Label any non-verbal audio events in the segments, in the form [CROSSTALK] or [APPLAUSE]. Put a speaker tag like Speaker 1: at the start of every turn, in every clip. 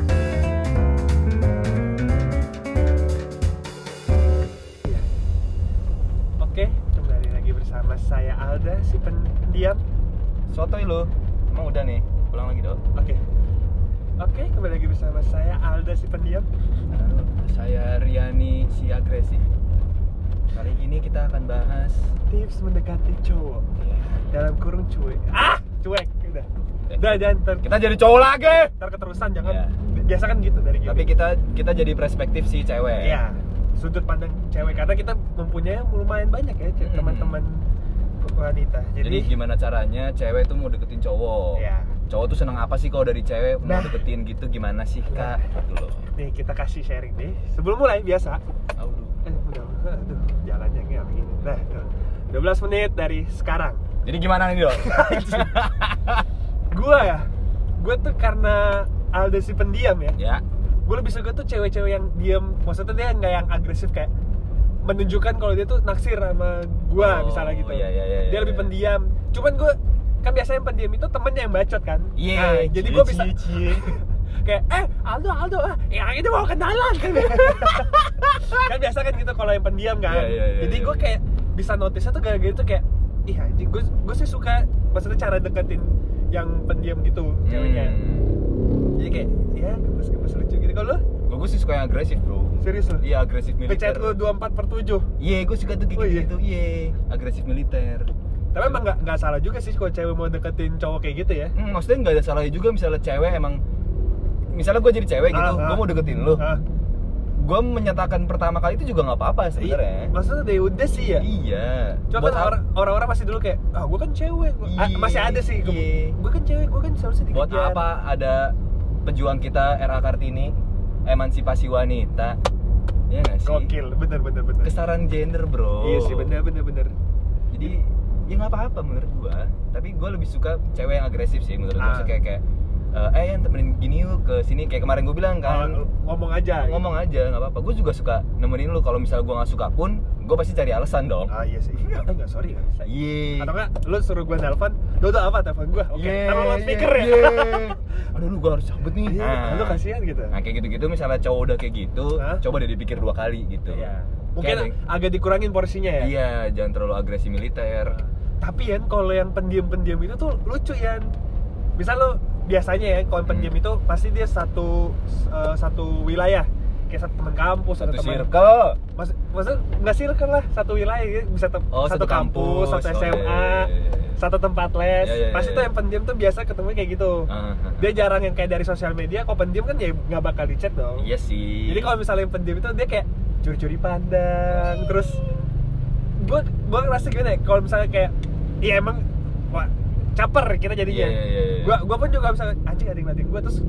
Speaker 1: Iya. saya Alda si pendiam.
Speaker 2: Sotoy lu. Emang udah nih. Pulang lagi, Dok.
Speaker 1: Oke. Oke, kembali lagi bersama saya Alda si pendiam.
Speaker 2: Eh, Saya Riani si agresif. Kali ini kita akan bahas
Speaker 1: Tips mendekati cowok
Speaker 2: Iya.
Speaker 1: dalam kurung cuek. Ah, cuek. Udah. Udah jangan ter
Speaker 2: kita jadi cowok lagi.
Speaker 1: ntar keterusan jangan.
Speaker 2: Iya.
Speaker 1: Biasa kan gitu dari gini.
Speaker 2: Tapi kita kita jadi perspektif si cewek.
Speaker 1: Iya, sudut pandang cewek karena kita mempunyai lumayan banyak ya ce-
Speaker 2: Mhm.
Speaker 1: teman-teman wanita.
Speaker 2: Jadi,
Speaker 1: Jadi,
Speaker 2: gimana caranya cewek tuh mau deketin cowok?
Speaker 1: Iya.
Speaker 2: Cowok tuh seneng apa sih kalau dari cewek mau
Speaker 1: Nah.
Speaker 2: deketin gitu gimana sih
Speaker 1: Nah.
Speaker 2: kak? Gitu loh.
Speaker 1: nih kita kasih sharing deh. Sebelum mulai biasa,
Speaker 2: Aduh.
Speaker 1: eh udah, aduh, jalannya kayak begini. Nah, tuh. 12 menit dari sekarang.
Speaker 2: Jadi gimana nih [LAUGHS] dok?
Speaker 1: Gua ya, gua tuh karena Aldo si pendiam ya.
Speaker 2: ya.
Speaker 1: Gue lebih suka tuh cewek-cewek yang diam. Maksudnya dia nggak yang agresif kayak menunjukkan kalau dia tuh naksir sama gua
Speaker 2: Oh,
Speaker 1: misalnya gitu.
Speaker 2: iya, iya, iya,
Speaker 1: dia
Speaker 2: iya,
Speaker 1: lebih
Speaker 2: iya.
Speaker 1: pendiam. Cuman gue kan biasanya yang pendiam itu temennya yang bacot kan.
Speaker 2: Iya,
Speaker 1: Nah,
Speaker 2: cie,
Speaker 1: jadi gue bisa
Speaker 2: cie, cie.
Speaker 1: [LAUGHS] kayak eh Aldo Aldo ah yang ini mau
Speaker 2: [LAUGHS]
Speaker 1: kenalan kan. kan biasa kan gitu kalau yang pendiam kan.
Speaker 2: Iya, iya, iya,
Speaker 1: jadi
Speaker 2: iya,
Speaker 1: gue
Speaker 2: iya.
Speaker 1: kayak bisa notice tuh gara-gara itu kayak ih anjing gue gue sih suka maksudnya cara deketin yang pendiam gitu ceweknya.
Speaker 2: Hmm.
Speaker 1: Jadi kayak ya gemes-gemes lucu gitu kalau lu
Speaker 2: Gue sih suka yang agresif bro.
Speaker 1: serius lu.
Speaker 2: Iya agresif militer.
Speaker 1: Ngechat lu 24 per 7
Speaker 2: Iya, gue suka tuh kayak
Speaker 1: Oh, iya.
Speaker 2: gitu. Iya, agresif militer.
Speaker 1: Tapi emang nggak nggak salah juga sih kalau cewek mau deketin cowok kayak gitu ya.
Speaker 2: Hmm, maksudnya nggak ada salahnya juga misalnya cewek emang misalnya gue jadi cewek gitu,
Speaker 1: Ah, ah.
Speaker 2: gue mau deketin lu.
Speaker 1: Ah,
Speaker 2: Gue menyatakan pertama kali itu juga nggak apa-apa
Speaker 1: iya.
Speaker 2: sebenarnya.
Speaker 1: Maksudnya deh udah sih ya.
Speaker 2: ya? Iya.
Speaker 1: Cuma kan
Speaker 2: Buat apa-
Speaker 1: orang- orang-orang masih dulu kayak, ah gue kan cewek, Gua- ah,
Speaker 2: Iya,
Speaker 1: masih ada sih,
Speaker 2: iya.
Speaker 1: gue, gue kan cewek, gue kan seharusnya dikejar.
Speaker 2: buat apa ada pejuang kita RA Kartini emansipasi wanita? Ya nggak sih?
Speaker 1: Gokil, bener bener bener.
Speaker 2: Kesetaraan gender, Bro.
Speaker 1: Iya sih, bener bener bener.
Speaker 2: jadi ya nggak apa-apa menurut gua tapi gua lebih suka cewek yang agresif sih menurut gua
Speaker 1: Ah.
Speaker 2: kayak kayak eh, eh yang temenin gini yuk ke sini kayak kemarin gua bilang
Speaker 1: Kalau
Speaker 2: kan
Speaker 1: ngomong aja. gitu.
Speaker 2: ngomong aja nggak apa-apa gua juga suka nemenin lu kalau misalnya gua nggak suka pun gua pasti cari alasan dong Iya.
Speaker 1: Ah iya sih. Atau enggak sorry nggak bisa.
Speaker 2: Yeay
Speaker 1: Atau enggak, lu suruh gue nelpon, Dodo apa telepon gue? Oke,
Speaker 2: Yeay,
Speaker 1: taruh speaker ya. [LAUGHS]
Speaker 2: yeay, yeay. aduh lu gua harus cabut nih
Speaker 1: Iya,
Speaker 2: Nah.
Speaker 1: lu kasihan gitu.
Speaker 2: nah kayak gitu-gitu misalnya cowok udah kayak gitu
Speaker 1: Hah?
Speaker 2: coba deh dipikir dua kali gitu
Speaker 1: Iya. Mungkin
Speaker 2: Kayak ada-
Speaker 1: agak dikurangin porsinya ya.
Speaker 2: iya jangan terlalu agresi militer
Speaker 1: Tapi Yan, kalau yang pendiam-pendiam itu tuh lucu Yan. Misal lo biasanya ya kalau yang pendiam
Speaker 2: Hmm.
Speaker 1: itu pasti dia satu eh, satu wilayah. Kayak satu teman kampus,
Speaker 2: satu
Speaker 1: atau teman
Speaker 2: circle
Speaker 1: Mas, maksud nggak circle lah satu wilayah gitu. bisa tem-
Speaker 2: Oh,
Speaker 1: satu,
Speaker 2: satu
Speaker 1: kampus,
Speaker 2: kampus.
Speaker 1: satu
Speaker 2: Oh,
Speaker 1: SMA,
Speaker 2: iya, iya, iya, iya.
Speaker 1: satu tempat les.
Speaker 2: Iya, iya,
Speaker 1: Pasti
Speaker 2: iya,
Speaker 1: tuh
Speaker 2: iya.
Speaker 1: yang pendiam tuh biasa ketemu kayak gitu.
Speaker 2: Ah, ah, ah.
Speaker 1: Dia jarang yang kayak dari sosial media. Kalau pendiam kan ya nggak bakal dicet dong.
Speaker 2: iya sih
Speaker 1: Jadi kalau misalnya yang pendiam itu dia kayak curi-curi pandang, terus gua gua ngerasa gimana ya? Kalau misalnya kayak iya emang wah, caper kita jadinya.
Speaker 2: Iya, iya, iya, iya.
Speaker 1: Gua gua pun juga bisa anjing ada yang ngeliatin gua terus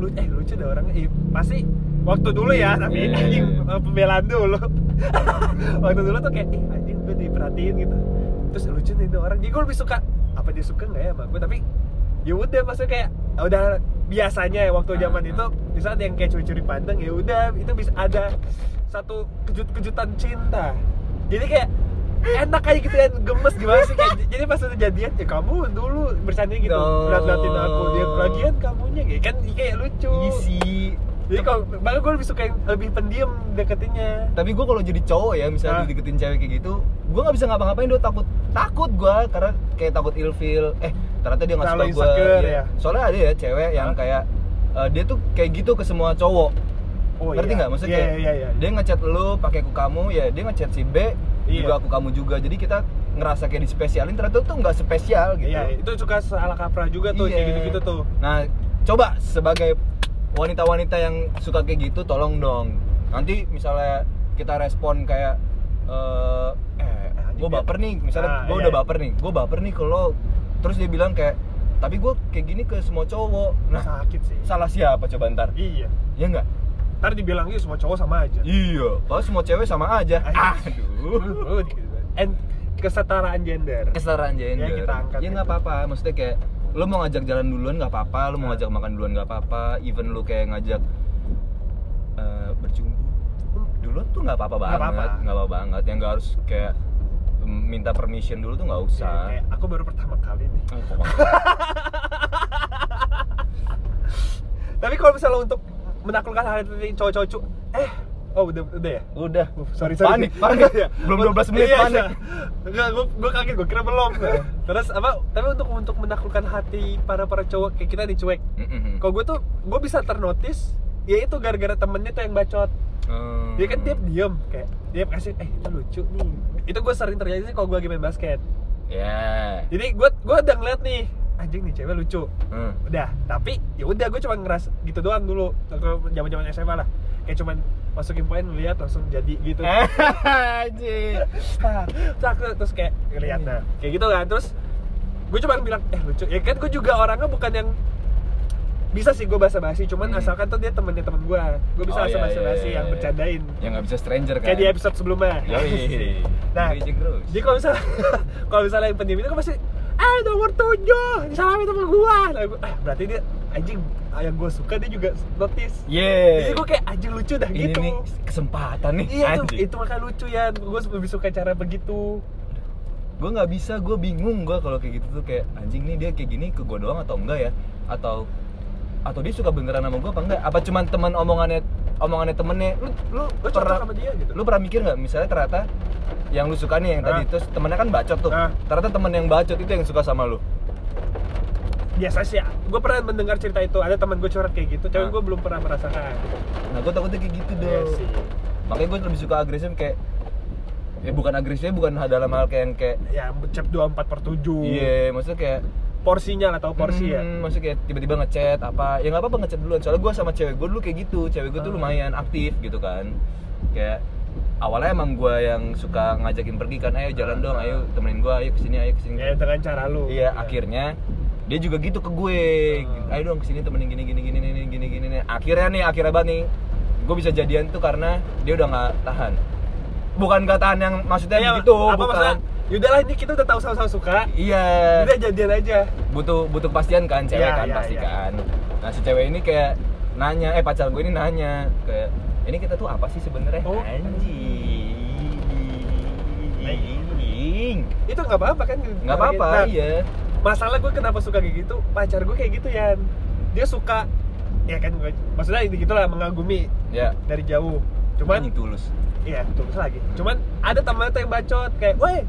Speaker 1: lu eh lucu deh orangnya. Ih, pasti waktu dulu ya, tapi
Speaker 2: Iya, iya,
Speaker 1: anjing
Speaker 2: iya.
Speaker 1: [LAUGHS] eh, pembelaan dulu. [LAUGHS] waktu dulu tuh kayak ih anjing gua diperhatiin gitu. Terus lucu nih tuh orang. Jadi gua lebih suka apa dia suka nggak ya sama gua tapi ya udah maksudnya kayak ah, udah biasanya ya waktu zaman
Speaker 2: Ah.
Speaker 1: itu bisa ada yang kayak curi-curi pandang ya udah itu bisa ada satu kejut-kejutan cinta jadi kayak enak aja gitu ya gemes gimana sih kayak, jadi pas udah jadian ya kamu dulu bercanda gitu
Speaker 2: No.
Speaker 1: lihat-liatin aku dia lagian kamunya gitu kan kayak lucu
Speaker 2: isi
Speaker 1: jadi kalau makanya gue lebih suka yang lebih pendiam deketinnya
Speaker 2: tapi gue kalau jadi cowok ya
Speaker 1: Ah.
Speaker 2: misalnya dideketin cewek kayak gitu gue nggak bisa ngapa-ngapain dia takut takut gue karena kayak takut ilfil eh ternyata dia nggak suka
Speaker 1: Terlalu
Speaker 2: gue
Speaker 1: insecure ya?
Speaker 2: soalnya ada ya cewek yang
Speaker 1: Hah?
Speaker 2: kayak eh, dia tuh kayak gitu ke semua cowok
Speaker 1: oh
Speaker 2: ngerti nggak maksudnya
Speaker 1: iya
Speaker 2: kayak
Speaker 1: iya iya
Speaker 2: dia ngechat lu pakai aku kamu ya dia ngechat si B
Speaker 1: Iya.
Speaker 2: juga aku kamu juga jadi kita ngerasa kayak dispesialin ternyata tuh nggak spesial gitu
Speaker 1: iya itu suka salah kaprah juga tuh
Speaker 2: Iya.
Speaker 1: kayak gitu-gitu tuh
Speaker 2: Nah, coba sebagai wanita-wanita yang suka kayak gitu, tolong dong. Nanti misalnya kita respon kayak eh, eh gue baper
Speaker 1: Ah,
Speaker 2: nih, misalnya gue
Speaker 1: iya,
Speaker 2: udah
Speaker 1: iya.
Speaker 2: baper nih, gue baper nih kalau terus dia bilang kayak, tapi gue kayak gini ke semua cowok. Nah,
Speaker 1: sakit sih
Speaker 2: salah siapa coba ntar?
Speaker 1: iya
Speaker 2: Ya enggak?
Speaker 1: ntar dibilang "Ih, semua cowok sama aja
Speaker 2: Iya, padahal semua cewek sama aja. Aduh.
Speaker 1: Oh, dikit banget. And kesetaraan gender.
Speaker 2: kesetaraan gender
Speaker 1: Ya, kita angkat
Speaker 2: ya nggak
Speaker 1: itu.
Speaker 2: apa-apa maksudnya kayak lo mau ngajak jalan duluan nggak apa-apa lo mau
Speaker 1: Nah.
Speaker 2: ngajak makan duluan nggak apa-apa even lo kayak ngajak eh, bercumbu dulu tuh nggak apa-apa
Speaker 1: Nggak
Speaker 2: banget
Speaker 1: apa-apa.
Speaker 2: nggak apa-apa banget yang nggak harus kayak mm, minta permission dulu tuh nggak usah
Speaker 1: Ya, kayak aku baru pertama kali nih.
Speaker 2: Eh, kok nggak-
Speaker 1: Tapi kalau misalnya untuk menaklukkan hal itu cowok-cowok cu- eh oh udah [LAUGHS] udah ya
Speaker 2: Udah.
Speaker 1: Uh, sorry sorry
Speaker 2: Panik, panik.
Speaker 1: Iya.
Speaker 2: Belum 12 menit,
Speaker 1: Iya, iya.
Speaker 2: panik.
Speaker 1: enggak gua, gua kaget gua kira belum terus apa tapi untuk untuk menaklukkan hati para para cowok kayak kita nih cuek
Speaker 2: Mm-mm.
Speaker 1: kalau gue tuh gue bisa ternotis ya itu gara-gara temennya tuh yang bacot
Speaker 2: Hmm.
Speaker 1: dia kan dia diem kayak dia kasih eh itu lucu nih itu gue sering terjadi sih kalau gue lagi main basket
Speaker 2: Ya.
Speaker 1: jadi gue gue udah ngeliat nih anjing nih cewek lucu [LAUGHS]
Speaker 2: Hmm.
Speaker 1: udah tapi ya udah gue cuma ngeras gitu doang dulu zaman zaman SMA lah kayak cuman masukin poin lihat langsung jadi gitu
Speaker 2: Eh, Anjir.
Speaker 1: tak tak, terus kayak ngeliat nah
Speaker 2: Iya.
Speaker 1: kayak gitu kan terus gue cuma bilang eh lucu ya kan gue juga orangnya bukan yang bisa sih gue bahasa basi cuman
Speaker 2: Hmm.
Speaker 1: asalkan tuh dia temennya temen gue gue bisa
Speaker 2: Oh,
Speaker 1: bahasa
Speaker 2: iya,
Speaker 1: basi basi
Speaker 2: iya,
Speaker 1: yang
Speaker 2: iya.
Speaker 1: bercandain
Speaker 2: Yang nggak bisa stranger kan.
Speaker 1: kayak di episode sebelumnya
Speaker 2: Yoi.
Speaker 1: [LAUGHS] Nah.
Speaker 2: Bridging terus.
Speaker 1: jadi kalau misalnya [LAUGHS] kalau misalnya yang pendiam itu kan pasti eh nomor tujuh disalamin sama gua nah, gua, eh, berarti dia anjing ah, yang gua suka dia juga notice jadi
Speaker 2: Yeah.
Speaker 1: gua kayak anjing lucu dah
Speaker 2: Iya. Ini
Speaker 1: gitu
Speaker 2: nih kesempatan nih.
Speaker 1: iya itu
Speaker 2: anjing.
Speaker 1: itu makanya lucu ya gua lebih suka cara begitu
Speaker 2: gue nggak bisa gue bingung gue kalau kayak gitu tuh kayak anjing nih dia kayak gini ke gue doang atau enggak ya atau atau dia suka beneran sama gue apa enggak apa cuman teman omongannya omongannya temennya lu lu,
Speaker 1: lu cocok
Speaker 2: pernah
Speaker 1: sama dia gitu
Speaker 2: lu pernah mikir nggak misalnya ternyata yang lu suka nih yang tadi
Speaker 1: Ah.
Speaker 2: terus temennya kan bacot tuh
Speaker 1: Ah.
Speaker 2: ternyata temen yang bacot itu yang suka sama lu
Speaker 1: biasa sih ya? gua pernah mendengar cerita itu ada teman gua curhat kayak gitu cuman
Speaker 2: Ah.
Speaker 1: gua belum pernah merasakan
Speaker 2: nah gue takutnya kayak gitu dong
Speaker 1: Iya sih
Speaker 2: makanya gue lebih suka agresif kayak ya bukan agresifnya bukan dalam hal kayak yang kayak
Speaker 1: ya cep 24 per 7
Speaker 2: iya maksudnya kayak
Speaker 1: porsinya lah tahu porsi ya
Speaker 2: Hmm, maksudnya kayak tiba-tiba ngechat apa ya nggak apa-apa ngechat duluan soalnya gue sama cewek gue dulu kayak gitu cewek gue tuh
Speaker 1: Ah.
Speaker 2: lumayan aktif gitu kan kayak awalnya emang gue yang suka ngajakin pergi kan ayo jalan dong ayo temenin gue ayo kesini ayo kesini
Speaker 1: ya dengan cara lu Ya.
Speaker 2: iya akhirnya dia juga gitu ke gue
Speaker 1: Ah.
Speaker 2: ayo dong kesini temenin gini gini gini gini gini gini nih. akhirnya nih akhirnya banget nih gue bisa jadian tuh karena dia udah nggak tahan bukan nggak tahan yang maksudnya
Speaker 1: Iya,
Speaker 2: gitu
Speaker 1: apa maksudnya
Speaker 2: bukan
Speaker 1: yaudahlah ini kita udah tahu sama-sama suka
Speaker 2: iya
Speaker 1: udah jadian aja
Speaker 2: butuh butuh kepastian kan cewek
Speaker 1: Iya,
Speaker 2: kan
Speaker 1: iya,
Speaker 2: pasti
Speaker 1: iya.
Speaker 2: kan nah si cewek ini kayak nanya eh pacar gue ini nanya kayak ini kita tuh apa sih sebenarnya
Speaker 1: Oh.
Speaker 2: anjing
Speaker 1: itu nggak apa-apa kan
Speaker 2: nggak
Speaker 1: Nah,
Speaker 2: apa-apa iya
Speaker 1: masalah gue kenapa suka kayak gitu pacar gue kayak gitu ya dia suka ya kan gue maksudnya gitu lah mengagumi
Speaker 2: ya
Speaker 1: dari jauh
Speaker 2: anjing
Speaker 1: cuman
Speaker 2: tulus
Speaker 1: iya terus lagi cuman ada temannya tuh yang bacot kayak woi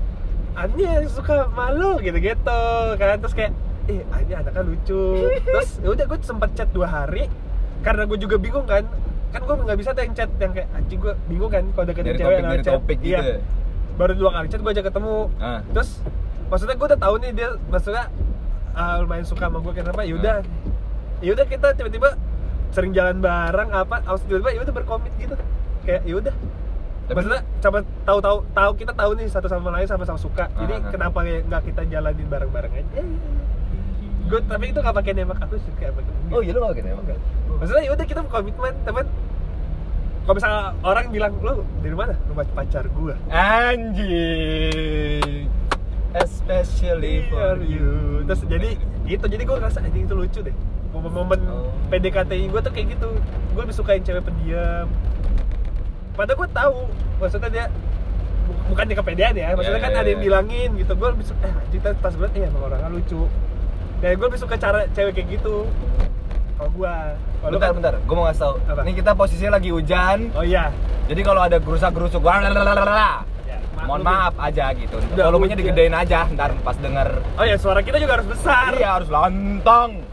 Speaker 1: Anya suka malu gitu-gitu kan terus kayak eh Anya anaknya lucu terus ya udah gue sempet chat dua hari karena gue juga bingung kan kan gue nggak bisa tuh yang chat yang kayak anjing gue bingung kan kalau deketin
Speaker 2: dari
Speaker 1: cewek
Speaker 2: topik
Speaker 1: yang
Speaker 2: dari
Speaker 1: chat.
Speaker 2: topik
Speaker 1: Iya.
Speaker 2: gitu
Speaker 1: baru dua kali chat gue aja ketemu
Speaker 2: ah
Speaker 1: terus maksudnya gue udah tahu nih dia maksudnya uh, lumayan suka sama gue kenapa Ya yaudah yaudah kita tiba-tiba sering jalan bareng apa harus tiba-tiba yaudah berkomit gitu kayak yaudah
Speaker 2: Tapi-
Speaker 1: maksudnya sama tahu-tahu tahu kita tahu nih satu sama lain sama-sama suka jadi
Speaker 2: Ah, ah.
Speaker 1: kenapa ya nggak kita jalanin bareng-bareng
Speaker 2: Iya,
Speaker 1: aja gue tapi itu nggak pakai nembak aku suka sama kamu.
Speaker 2: oh iya lo nggak gitu emang
Speaker 1: Enggak. maksudnya yaudah kita komitmen teman kalau misalnya orang bilang lu dari mana rumah pacar gue
Speaker 2: anjing especially for you
Speaker 1: Iya, Terus jadi gitu, jadi gue ngerasa anjing itu lucu deh. Momen-momen
Speaker 2: Oh.
Speaker 1: PDKT gue tuh kayak gitu. Gue lebih sukain cewek pendiam. Padahal gue tahu maksudnya dia bu- bukan di kepedean ya, maksudnya
Speaker 2: Ya,
Speaker 1: kan
Speaker 2: ya,
Speaker 1: ada yang
Speaker 2: ya.
Speaker 1: bilangin gitu. Gue lebih suka eh anjing tas pas banget eh emang orangnya lucu. Dan gue lebih suka cara cewek kayak gitu. Kalau gue, kalau lu
Speaker 2: bentar
Speaker 1: kan-
Speaker 2: bentar gue mau ngasih tau
Speaker 1: Apa?
Speaker 2: ini kita posisinya lagi hujan
Speaker 1: Oh iya.
Speaker 2: Jadi kalau ada gerusak gerusuk, lalalala,
Speaker 1: Ya, maklumin.
Speaker 2: mohon maaf aja gitu.
Speaker 1: Udah,
Speaker 2: Volumenya
Speaker 1: udah.
Speaker 2: digedein aja, ntar pas denger.
Speaker 1: Oh ya, suara kita juga harus besar.
Speaker 2: Iya harus lantang.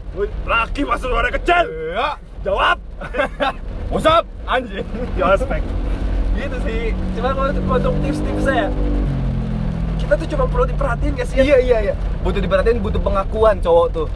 Speaker 1: Laki masuk suara kecil.
Speaker 2: Iya.
Speaker 1: Jawab.
Speaker 2: What's up, anjing?
Speaker 1: di ospek gitu sih cuma kalau untuk, untuk tips-tips saya kita tuh cuma perlu diperhatiin gak sih
Speaker 2: iya iya iya. Butuh diperhatiin, butuh pengakuan cowok tuh.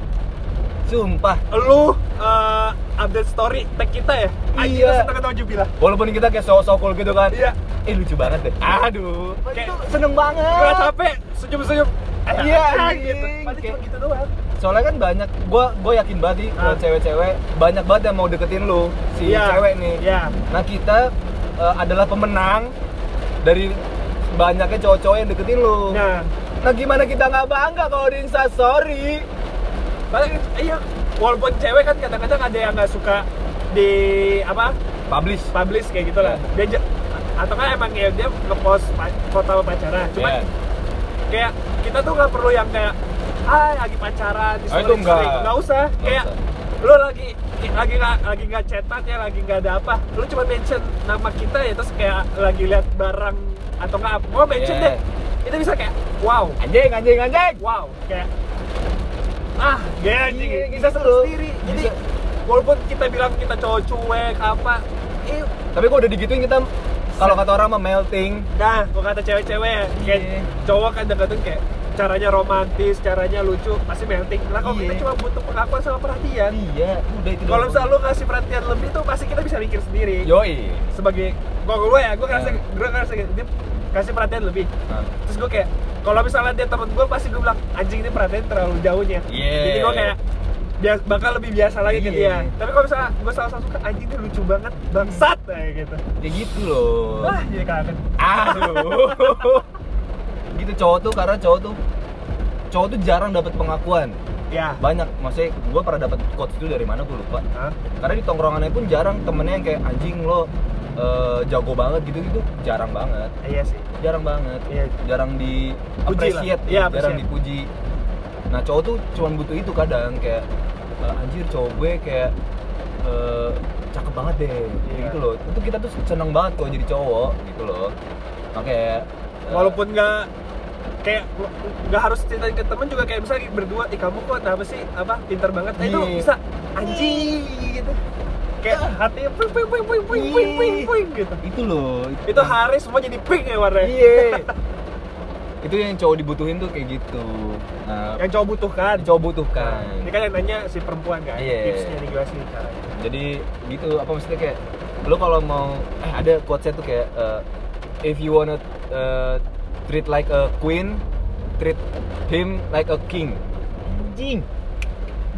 Speaker 2: Sumpah.
Speaker 1: lu uh, update story tag kita ya
Speaker 2: Iya.
Speaker 1: iya kita ketawa jubila
Speaker 2: Walaupun kita kayak sok-sok cool gitu kan.
Speaker 1: Iya. Ah.
Speaker 2: Eh lucu banget deh. Aduh.
Speaker 1: Kayak-
Speaker 2: Itu seneng banget.
Speaker 1: gak capek senyum-senyum Eh,
Speaker 2: Iya,
Speaker 1: ah,
Speaker 2: anjing.
Speaker 1: gitu padahal cuma gitu doang
Speaker 2: Soalnya kan banyak, gua gua yakin banget nih, kalau
Speaker 1: Ah. cewek-cewek
Speaker 2: cewek-cewek banyak banget yang mau deketin lu si
Speaker 1: Iya.
Speaker 2: cewek nih.
Speaker 1: iya
Speaker 2: Nah kita eh, adalah pemenang dari banyaknya cowok-cowok yang deketin lu.
Speaker 1: nah
Speaker 2: Nah gimana kita nggak bangga kalau di Insta Story?
Speaker 1: padahal iya walaupun cewek kan kadang-kadang ada yang gak suka di apa
Speaker 2: Publish.
Speaker 1: publish kayak gitu lah
Speaker 2: Iya.
Speaker 1: dia ja- atau kan emang ya dia ngepost pa- foto sama pacaran cuman
Speaker 2: Cuman
Speaker 1: kayak kita tuh nggak perlu yang kayak ah lagi pacaran di
Speaker 2: Ah, itu
Speaker 1: story-story."
Speaker 2: nggak.
Speaker 1: nggak usah
Speaker 2: Nggak
Speaker 1: kayak
Speaker 2: usah.
Speaker 1: lo lagi lagi nggak lagi nggak cetak ya lagi nggak ada apa lu cuma mention nama kita ya terus kayak lagi lihat barang atau nggak apa oh mention
Speaker 2: Yeah.
Speaker 1: deh itu bisa kayak wow
Speaker 2: anjing anjing anjing
Speaker 1: wow kayak ah ya anjing
Speaker 2: Iya,
Speaker 1: bisa
Speaker 2: gitu.
Speaker 1: seru sendiri jadi
Speaker 2: Bisa.
Speaker 1: walaupun kita bilang kita cowok cuek apa eh,
Speaker 2: tapi kok udah digituin kita kalau kata orang mah melting
Speaker 1: nah gua kata cewek-cewek ya kayak
Speaker 2: Iya.
Speaker 1: cowok kan kadang kayak caranya romantis caranya lucu pasti melting lah kalau
Speaker 2: Iya.
Speaker 1: kita cuma butuh pengakuan sama perhatian
Speaker 2: iya udah itu
Speaker 1: kalau misalnya lu ngasih perhatian lebih tuh pasti kita bisa mikir sendiri
Speaker 2: yoi
Speaker 1: sebagai gua gue ya gue ngerasa
Speaker 2: Ya.
Speaker 1: gue ngerasa gitu, dia kasih perhatian lebih
Speaker 2: Nah,
Speaker 1: terus gue kayak kalau misalnya dia temen gue pasti gue bilang anjing ini perhatian terlalu jauhnya
Speaker 2: Iya.
Speaker 1: jadi gue kayak bias, bakal lebih biasa lagi ke
Speaker 2: Iya.
Speaker 1: dia tapi kalau misalnya gue salah satu suka anjing dia lucu banget bangsat kayak gitu
Speaker 2: kayak gitu loh
Speaker 1: wah iya, jadi kangen
Speaker 2: aduh gitu cowok tuh karena cowok tuh cowok tuh jarang dapat pengakuan
Speaker 1: ya
Speaker 2: banyak maksudnya gue pernah dapat quotes itu dari mana gue lupa
Speaker 1: Hah?
Speaker 2: karena di tongkrongannya pun jarang temennya yang kayak anjing lo eh, jago banget gitu gitu jarang banget
Speaker 1: iya sih
Speaker 2: jarang banget
Speaker 1: Iya.
Speaker 2: jarang di
Speaker 1: lah.
Speaker 2: appreciate ya.
Speaker 1: Iya,
Speaker 2: jarang
Speaker 1: appreciate.
Speaker 2: dipuji nah cowok tuh cuman butuh itu kadang kayak eh, anjir cowok gue kayak eh, cakep banget deh Kayak
Speaker 1: Iya.
Speaker 2: gitu loh itu kita tuh seneng banget kalau jadi cowok gitu loh makanya eh,
Speaker 1: walaupun nggak kayak nggak harus cerita ke temen juga kayak misalnya berdua di kamu kok apa sih apa pinter banget nah, itu
Speaker 2: Iya.
Speaker 1: bisa anjing gitu kayak hatinya puing puing puing puing puing puing puing
Speaker 2: Iya.
Speaker 1: puing gitu
Speaker 2: itu loh
Speaker 1: itu hari semua jadi pink ya warnanya
Speaker 2: [LAUGHS] iya itu yang cowok dibutuhin tuh kayak gitu nah,
Speaker 1: yang cowok butuhkan
Speaker 2: cowok butuhkan
Speaker 1: Ya. ini kan yang nanya si perempuan kan
Speaker 2: Iya.
Speaker 1: tipsnya nih gimana sih caranya
Speaker 2: jadi gitu apa maksudnya kayak lo kalau mau eh, ada quotesnya tuh kayak eh, if you wanna eh, treat like a queen treat him like a king anjing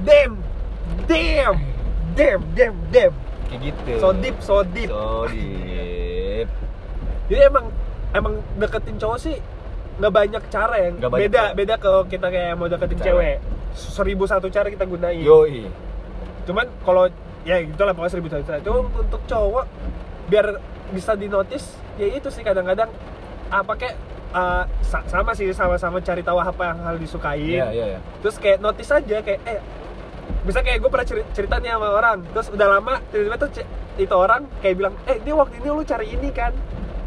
Speaker 1: damn damn damn damn damn
Speaker 2: kayak gitu
Speaker 1: so deep so deep
Speaker 2: so deep
Speaker 1: jadi emang emang deketin cowok sih nggak banyak cara yang
Speaker 2: Nggak banyak
Speaker 1: beda
Speaker 2: cara.
Speaker 1: beda kalau kita kayak mau deketin
Speaker 2: Cara.
Speaker 1: cewek seribu satu cara kita gunain
Speaker 2: yoi
Speaker 1: cuman kalau ya gitulah pokoknya seribu satu cara cuma untuk cowok biar bisa dinotis ya itu sih kadang-kadang apa kayak eh, sa- sama sih sama-sama cari tahu apa yang hal disukain
Speaker 2: iya iya iya
Speaker 1: terus kayak notice aja kayak eh bisa kayak gue pernah ceri- cerita nih sama orang terus udah lama tiba-tiba tuh ce- itu orang kayak bilang eh dia waktu ini lu cari ini kan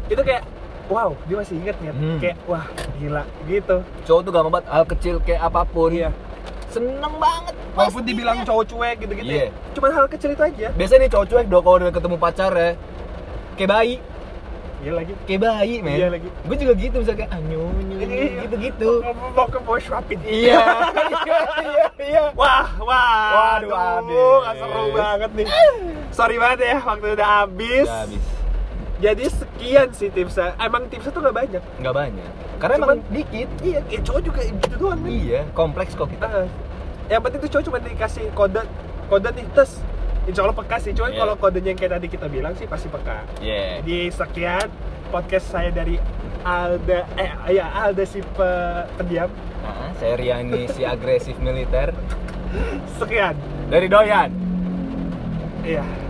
Speaker 1: itu kayak wow dia masih inget nih
Speaker 2: Hmm.
Speaker 1: kayak wah gila gitu
Speaker 2: cowok tuh gampang banget hal kecil kayak apapun
Speaker 1: Iya.
Speaker 2: seneng banget
Speaker 1: walaupun
Speaker 2: pastinya.
Speaker 1: dibilang cowok cuek gitu-gitu
Speaker 2: Iya.
Speaker 1: ya, cuman hal kecil itu aja
Speaker 2: biasanya nih cowok cuek dong kalau udah ketemu pacar ya kayak bayi
Speaker 1: iya lagi
Speaker 2: kayak bayi men
Speaker 1: Iya lagi. Iya.
Speaker 2: gue juga gitu misalnya kayak anyunya gitu gitu
Speaker 1: Mau- mau ke mau shopping
Speaker 2: iya [LAUGHS] iya iya iya
Speaker 1: [LAUGHS] wah wah
Speaker 2: Waduh,
Speaker 1: aduh,
Speaker 2: habis.
Speaker 1: seru banget nih sorry banget ya waktu udah habis
Speaker 2: Udah habis
Speaker 1: jadi sekian sih tipsnya emang tipsnya tuh gak banyak
Speaker 2: nggak banyak karena emang
Speaker 1: Cuman dikit iya ya cowok juga gitu doang nih
Speaker 2: iya kompleks kok kita
Speaker 1: Ah, yang penting tuh cowok cuma dikasih kode kode nih tes insya Allah peka sih cuman
Speaker 2: Iya.
Speaker 1: kalau kodenya yang kayak tadi kita bilang sih pasti peka
Speaker 2: iya
Speaker 1: jadi sekian podcast saya dari Alda eh ya Alda si pe- pendiam
Speaker 2: nah, saya Riani si agresif militer
Speaker 1: sekian
Speaker 2: dari Doyan
Speaker 1: iya